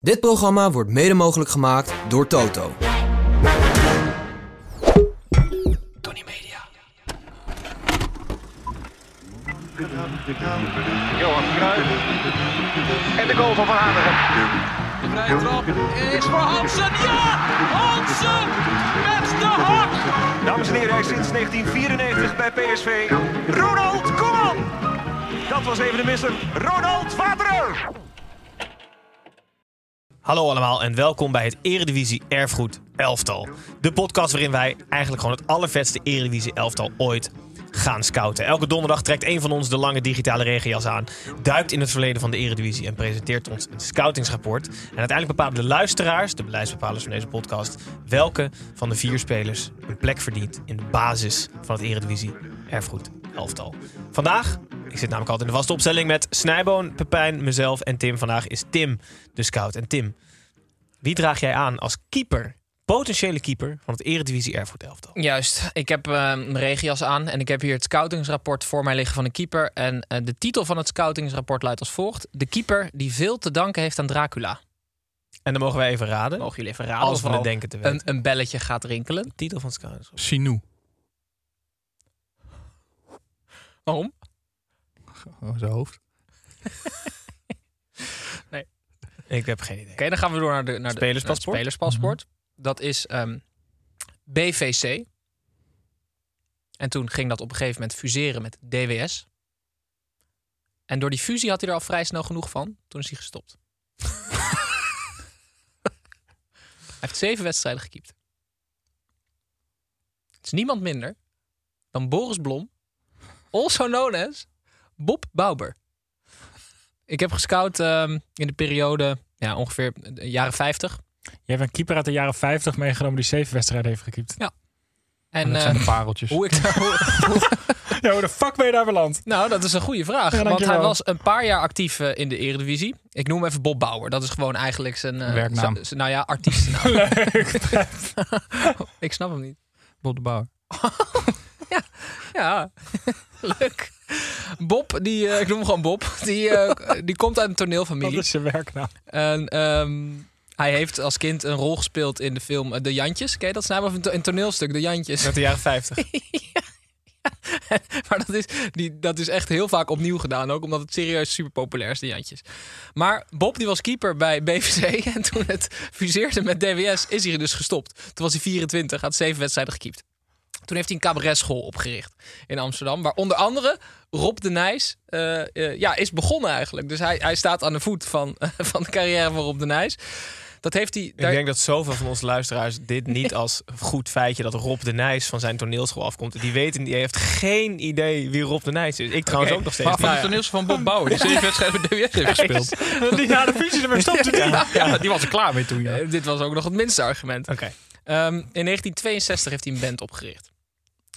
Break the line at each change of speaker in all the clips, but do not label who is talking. Dit programma wordt mede mogelijk gemaakt door Toto. Tony Media.
Johan Cruijff. En de goal van Van Hanegem.
De vrije trap is voor Hansen. Ja! Hansen met de hak!
Dames en heren, hij is sinds 1994 bij PSV. Ronald Koeman! Dat was even de mister. Ronald Vaderer!
Hallo allemaal en welkom bij het Eredivisie Erfgoed Elftal. De podcast waarin wij eigenlijk gewoon het allervetste Eredivisie Elftal ooit gaan scouten. Elke donderdag trekt een van ons de lange digitale regenjas aan, duikt in het verleden van de Eredivisie en presenteert ons een scoutingsrapport. En uiteindelijk bepalen de luisteraars, de beleidsbepalers van deze podcast, welke van de vier spelers een plek verdient in de basis van het Eredivisie Erfgoed Elftal. Vandaag ik zit namelijk altijd in de vaste opstelling met Snijboon, Pepijn, mezelf en Tim. Vandaag is Tim de scout. En Tim, wie draag jij aan als keeper, potentiële keeper van het Eredivisie Erfurt elftal?
Juist, ik heb eh, mijn regenjas aan en ik heb hier het scoutingsrapport voor mij liggen van de keeper. En eh, de titel van het scoutingsrapport luidt als volgt: De keeper die veel te danken heeft aan Dracula.
En dan mogen wij even raden,
Mogen jullie even raden
als
of
we
al
het denken te weten.
een, een belletje gaat rinkelen?
titel van scouts.
Sinou.
Waarom?
Oh, zijn hoofd.
Ik heb geen idee.
Oké, dan gaan we door naar de, naar de
Spelerspaspoort?
naar het spelerspaspoort. Dat is ehm, BVC. En toen ging dat op een gegeven moment fuseren met DWS. En door die fusie had hij er al vrij snel genoeg van. Toen is hij gestopt. hij heeft zeven wedstrijden gekiept. Het is niemand minder dan Boris Blom, also known as Bob Bauber. Ik heb gescout ehm, in de periode ja, ongeveer de jaren 50.
Je hebt een keeper uit de jaren 50 meegenomen die zeven wedstrijden heeft gekiept.
En
Oh, dat zijn
eh,
de pareltjes.
hoe ik daar. hoe-
Ja, hoe de fuck ben je daar beland?
nou, dat is een goede vraag. want
dankjewel.
hij was een paar jaar actief eh, in de Eredivisie. Ik noem hem even Bob Bauer. Dat is gewoon eigenlijk zijn. eh,
Werknaam.
zijn- zijn- nou ja, artiestennaam.
Leuk.
ik snap hem niet.
Bob de Bauer.
Ja, leuk. Bob, die, eh, ik noem hem gewoon Bob. Die, eh, die komt uit een
Dat
toneelfamilie.
is nou? zijn werknaam.
En ehm, hij heeft als kind een rol gespeeld in de film eh, De Jantjes. Ken je dat? Dat is namelijk een, to- een toneelstuk, De Jantjes.
Uit de jaren 50.
maar dat is, die, dat is echt heel vaak opnieuw gedaan. Ook omdat het serieus super populair is, de Jantjes. Maar Bob die was keeper bij BVC. En toen het fuseerde met DWS is hij dus gestopt. Toen was hij 24, had zeven wedstrijden gekiept. Toen heeft hij een cabaretschool opgericht in Amsterdam. Waar onder andere Rob de Nijs eh, eh, ja, is begonnen eigenlijk. Dus hij, hij staat aan de voet van, van de carrière van Rob de Nijs. Dat heeft hij...
Ik denk dat zoveel van onze luisteraars dit niet als goed feitje dat Rob de Nijs van zijn toneelschool afkomt. Die weet en die heeft geen idee wie Rob de Nijs is. Ik trouwens
Oké.
ook nog steeds.
Maar-
Nou
niet.
de
van Bob Bauer.
Die zeven wedstrijden bij DWS heeft gespeeld.
Die na de fusie ermee stopte. die.
Ja, die was er klaar mee toen.
Eh, dit was ook nog het minste argument.
Oké.
Ehm, in 1962 heeft hij een band opgericht.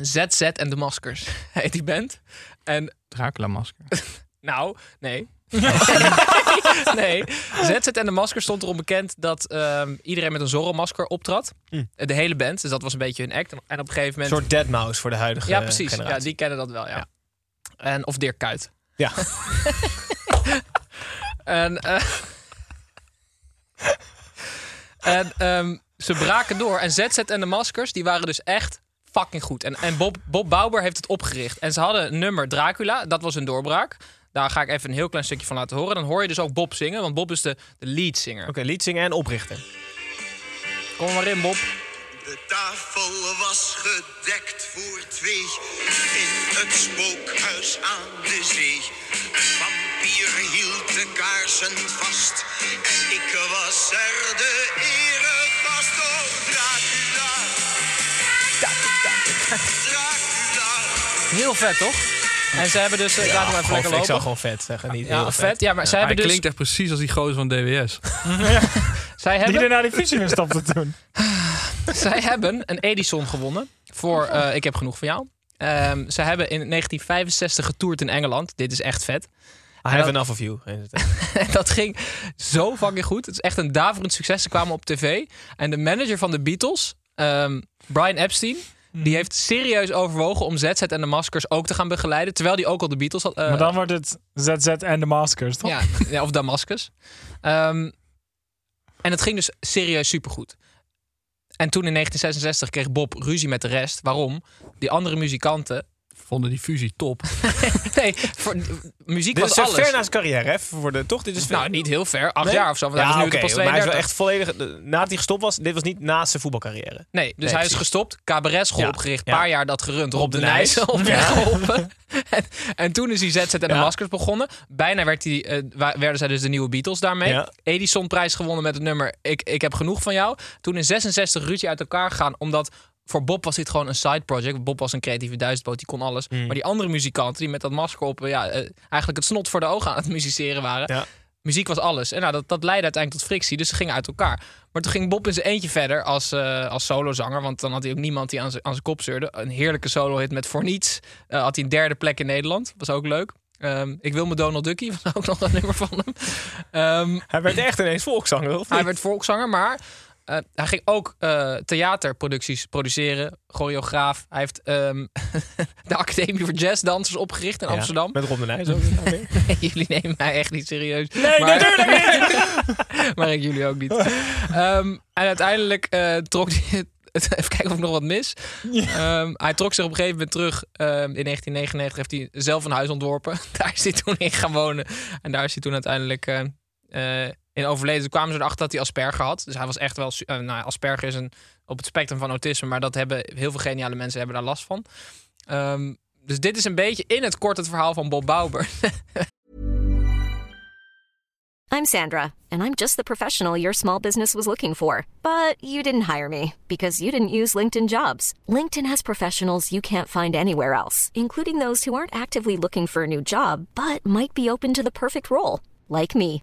ZZ en de Maskers heet die band. En
Dracula-masker.
nou, nee. nee, ZZ en de Maskers stond erom bekend dat ehm, iedereen met een Zorro-masker optrad. De hele band, dus dat was een beetje hun act. En op een gegeven
Hm. Een
moment...
soort deadmouse voor de huidige
ja, precies. Ja,
generatie.
die kennen dat wel, ja. En, of Dirk Kuyt.
Ja.
En, eh, en ehm, ze braken door. En ZZ en de Maskers, die waren dus echt fucking goed. En, en Bob, Bob Bauer heeft het opgericht. En ze hadden een nummer Dracula, dat was hun doorbraak. Daar ga ik even een heel klein stukje van laten horen. Dan hoor je dus ook Bob zingen, want Bob is de, de lead singer.
Oké, lied zingen en oprichter.
Kom er maar in, Bob.
De tafel was gedekt voor twee in het spookhuis aan de zee. Een Vampier hield de kaarsen vast en ik was er de eregast. Oh, Dracula. Dracula,
Heel vet, toch? En ze hebben dus... eh, laten we even
Gewoon,
lekker
ik zou
lopen.
gewoon vet zeggen. Niet
Ja,
heel
vet. Ja, maar zij
Hij
hebben dus...
klinkt echt precies als die gozer van DWS.
Zij
Die
hebben,
er naar die fiets in stapte toen.
Eh. zij hebben een Edison gewonnen voor eh, Ik heb genoeg van jou. Ehm, ze hebben in 1965 getoerd in Engeland. Dit is echt vet.
I have enough of you. Ze
En dat ging zo fucking goed. Het is echt een daverend succes. Ze kwamen op tv. En de manager van de Beatles, ehm, Brian Epstein... Die heeft serieus overwogen om ZZ en de Maskers ook te gaan begeleiden. Terwijl die ook al de Beatles had. eh,
Maar dan wordt het ZZ en de Maskers, toch?
Ja, ja, of Damascus. Ehm, en het ging dus serieus supergoed. En toen in 1966 kreeg Bob ruzie met de rest. Waarom? Die andere muzikanten.
Vonden die fusie top.
Nee, voor, muziek
Dit
was
is
alles.
ver na zijn carrière, hè? Voor de, toch? Dit is ver-
Nou, niet heel ver. Acht
Nee?
jaar of zo. Want
Ja,
hij is nu
oké,
pas
maar hij is wel
32.
echt volledig... eh, Nadat hij gestopt was, dit was niet naast zijn voetbalcarrière.
Nee, dus hij
precies.
is gestopt. Cabaretschool
Ja,
opgericht.
ja.
paar jaar dat gerund. Rob,
de
de
Nijs.
Nijs op weg geholpen. En, en toen is hij ZZ en de
Ja.
Maskers begonnen. Bijna werd die, eh, wa- werden zij dus de nieuwe Beatles daarmee.
Ja.
Edison prijs gewonnen met het nummer ik, ik heb genoeg van jou. Toen in 66 ruzie uit elkaar gegaan. Omdat voor Bob was dit gewoon een side project. Bob was een creatieve duizendpoot. Die kon alles.
Mm.
Maar die andere muzikanten die met dat masker op... eh, Ja, eh, eigenlijk het snot voor de ogen aan het musiceren waren.
Ja.
Muziek was alles. En nou, dat, dat leidde uiteindelijk tot frictie. Dus ze gingen uit elkaar. Maar toen ging Bob in zijn eentje verder als, eh als solozanger. Want dan had hij ook niemand die aan zijn, aan zijn kop zeurde. Een heerlijke solo-hit met Voor Niets. Eh, had hij een derde plek in Nederland. Was ook leuk. Ehm, ik wil me Donald Ducky. Was ook nog een nummer van hem. Ehm,
Hij werd echt ineens volkszanger, of
hij werd volkszanger, maar eh, hij ging ook eh, theaterproducties produceren. Choreograaf. Hij heeft ehm, de Academie voor Jazzdansers opgericht in Amsterdam.
Met Rob de Nijs ook.
jullie nemen mij echt niet serieus.
Nee, natuurlijk
niet! maar ik jullie ook niet. Ehm, en uiteindelijk eh, trok hij... Even kijken of ik nog wat mis. Ehm, hij trok zich op een gegeven moment terug. Ehm, in 1999 heeft hij zelf een huis ontworpen. Daar is hij toen in gaan wonen. En daar is hij toen uiteindelijk eh, eh, in overleden. Toen kwamen ze erachter dat hij Asperger had. Dus hij was echt wel... su- eh, nou, ja, Asperger is een, op het spectrum van autisme. Maar dat hebben heel veel geniale mensen hebben daar last van. Ehm, dus dit is een beetje in het kort het verhaal van Bob Bauber.
I'm Sandra, and I'm just the professional your small business was looking for. But you didn't hire me because you didn't use LinkedIn jobs. LinkedIn has professionals you can't find anywhere else, including those who aren't actively looking for a new job but might be open to the perfect role, like me.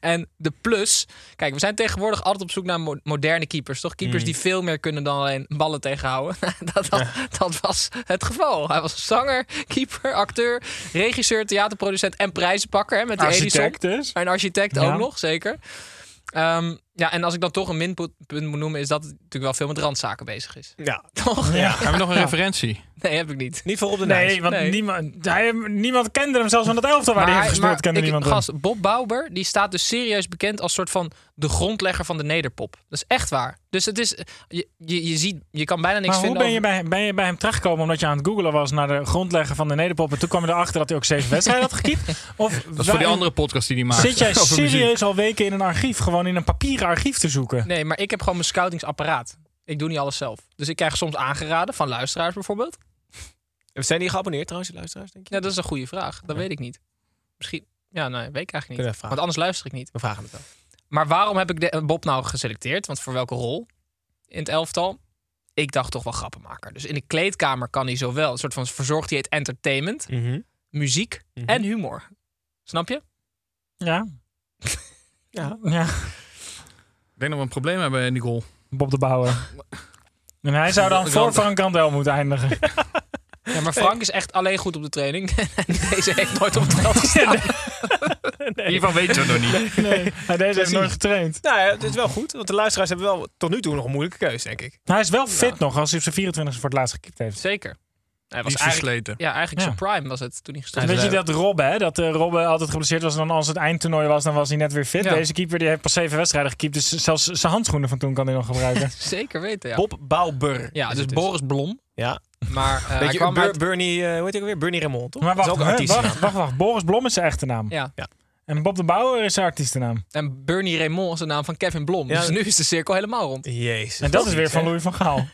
En de plus. Kijk, we zijn tegenwoordig altijd op zoek naar mo- moderne keepers, toch? Keepers
Mm.
die veel meer kunnen dan alleen ballen tegenhouden. dat, dat, dat was het geval. Hij was zanger, keeper, acteur, regisseur, theaterproducent en prijzenpakker. Hè, met die Edison.
Architect dus.
En architect
Ja.
ook nog, zeker. Ehm, ja, en als ik dan toch een minpunt punt moet noemen, is dat het natuurlijk wel veel met randzaken bezig is.
Ja.
Toch?
Hebben we nog een referentie?
Nee, heb ik niet.
Niet voor Rob de Nijs.
Nee, want
Nee.
Niemand, hij, niemand kende hem zelfs van het elftal waar hij heeft
hij-
gespeeld. Kende
ik-
niemand hem.
gast, Bob Bauber die staat dus serieus bekend als soort van de grondlegger van de nederpop. Dat is echt waar. Dus het is, je, je, je ziet, je kan bijna niks
Maar hoe
vinden.
ben je, bij, ben je bij hem terechtgekomen omdat je aan het googelen was naar de grondlegger van de nederpop en toen kwam je erachter dat hij ook zeven wedstrijden had gekiept? Of
Dat is voor die andere podcast die die maakt.
Zit jij
over muziek.
serieus al weken in een archief, gewoon in een papieren archief te zoeken?
over- Nee, maar ik heb gewoon mijn scoutingsapparaat. Ik doe niet alles zelf. Dus ik krijg soms aangeraden van luisteraars bijvoorbeeld.
Zijn die geabonneerd trouwens, die luisteraars, denk je?
Ja, dat is een goede vraag. Dat weet ik niet. Misschien, ja, nee, weet ik eigenlijk
Kunnen we
niet.
vragen.
Want anders luister ik niet.
We vragen het wel.
Maar waarom heb ik de, Bob nou geselecteerd? Want voor welke rol in het elftal? Ik dacht toch wel grappenmaker. Dus in de kleedkamer kan hij zowel een soort van verzorgt hij het entertainment,
Mhm.
muziek en humor. Snap je?
Ja.
Ja.
ja.
Ik denk dat we een probleem hebben in die goal.
Bob de Bouwer. En hij zou dan voor Frank Kandel moeten eindigen.
Ja, maar Frank is echt alleen goed op de training. Deze heeft nooit op het veld gestaan.
Hiervan weten we nog niet.
Maar deze heeft nooit getraind.
Nou ja, het is wel goed, want de luisteraars hebben wel tot nu toe nog een moeilijke keuze, denk ik.
Hij is wel fit nog als hij op zijn 24e voor het laatst gekiept heeft.
Zeker. Hij was
Die is
eigenlijk,
versleten.
ja, eigenlijk
Ja.
zijn prime was het toen hij gestopt
Weet
werd.
je dat Robben, hè? dat eh, Robben altijd geblesseerd was en dan als het eindtoernooi was, dan was hij net weer fit.
Ja.
Deze keeper die heeft pas zeven wedstrijden gekiept, dus zelfs zijn handschoenen van toen kan hij nog gebruiken.
Zeker weten, ja.
Bob Bauber.
ja,
is
dus
het
Boris Blom.
Ja.
Maar eh, hij
Weet je,
kwam
Bur-
uit...
Bernie, eh, hoe heet hij ook weer? Bernie Raymond, toch?
maar
Dat
wacht,
is ook een
hè,
artiestennaam.
wacht, wacht, wacht. Boris Blom is zijn echte naam.
Ja.
En Bob de Bouwer is zijn artiestennaam.
En Bernie Raymond is de naam van Kevin Blom.
Ja.
Dus nu is de cirkel helemaal rond.
Jezus.
En dat is
iets,
weer van
hè?
Louis van Gaal.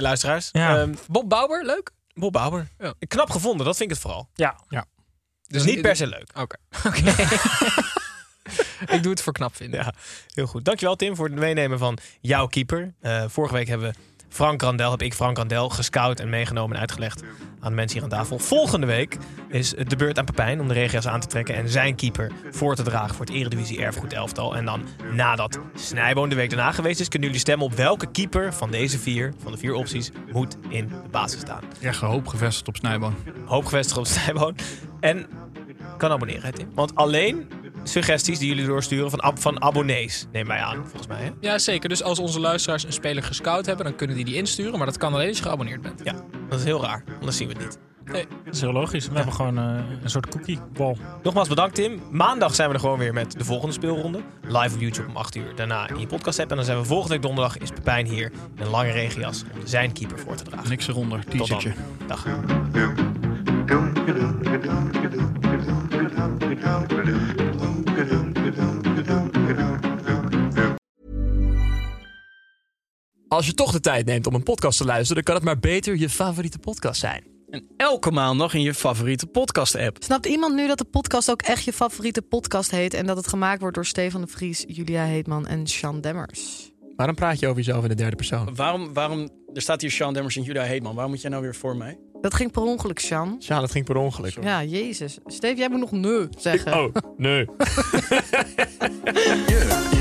luisteraars.
Ja.
Ehm,
Bob Bauer, leuk?
Bob Bauer. Knap gevonden, dat vind ik het vooral.
Ja.
Ja.
Dus niet per se leuk.
Oké. ik doe het voor knap vinden.
Ja, heel goed. Dankjewel Tim voor het meenemen van jouw keeper. Eh, vorige week hebben we Frank Randel, heb ik Frank Randel gescout en meegenomen en uitgelegd aan de mensen hier aan tafel. Volgende week is het de beurt aan Pepijn om de regio's aan te trekken en zijn keeper voor te dragen voor het Eredivisie Erfgoed Elftal. En dan nadat Snijboon de week daarna geweest is, kunnen jullie stemmen op welke keeper van deze vier, van de vier opties, moet in de basis staan.
Ja, hoop gevestigd op Snijboon.
Hoop gevestigd op Snijboon. En kan abonneren, hè, Tim. Want alleen suggesties die jullie doorsturen van, ab- van abonnees, neem wij aan, volgens mij. Hè?
Ja, zeker. Dus als onze luisteraars een speler gescout hebben, dan kunnen die die insturen. Maar dat kan alleen als je geabonneerd bent.
Ja, dat is heel raar. Anders zien we het niet.
Dat is heel logisch. We hebben gewoon eh, een soort cookiebal.
Nogmaals bedankt, Tim. Maandag zijn we er gewoon weer met de volgende speelronde. Live op YouTube om 8 uur. Daarna in je podcast app. En dan zijn we volgende week donderdag is Pepijn hier in een lange regenjas om zijn keeper voor te dragen.
Niks eronder,
Tot dan.
t-shirtje.
Dag.
Als je toch de tijd neemt om een podcast te luisteren, dan kan het maar beter je favoriete podcast zijn.
En elke maandag in je favoriete podcast-app.
Snapt iemand nu dat de podcast ook echt je favoriete podcast heet en dat het gemaakt wordt door Stefan de Vries, Julia Heetman en Sean Demmers?
Waarom praat je over jezelf in de derde persoon?
Waarom, waarom, er staat hier Sean Demmers en Judah Heetman. Waarom moet jij nou weer voor mij?
Dat ging per ongeluk, Sean.
Ja, dat ging per ongeluk.
Ja,
Oh.
jezus. Steve, jij moet nog nee zeggen.
Oh, nee.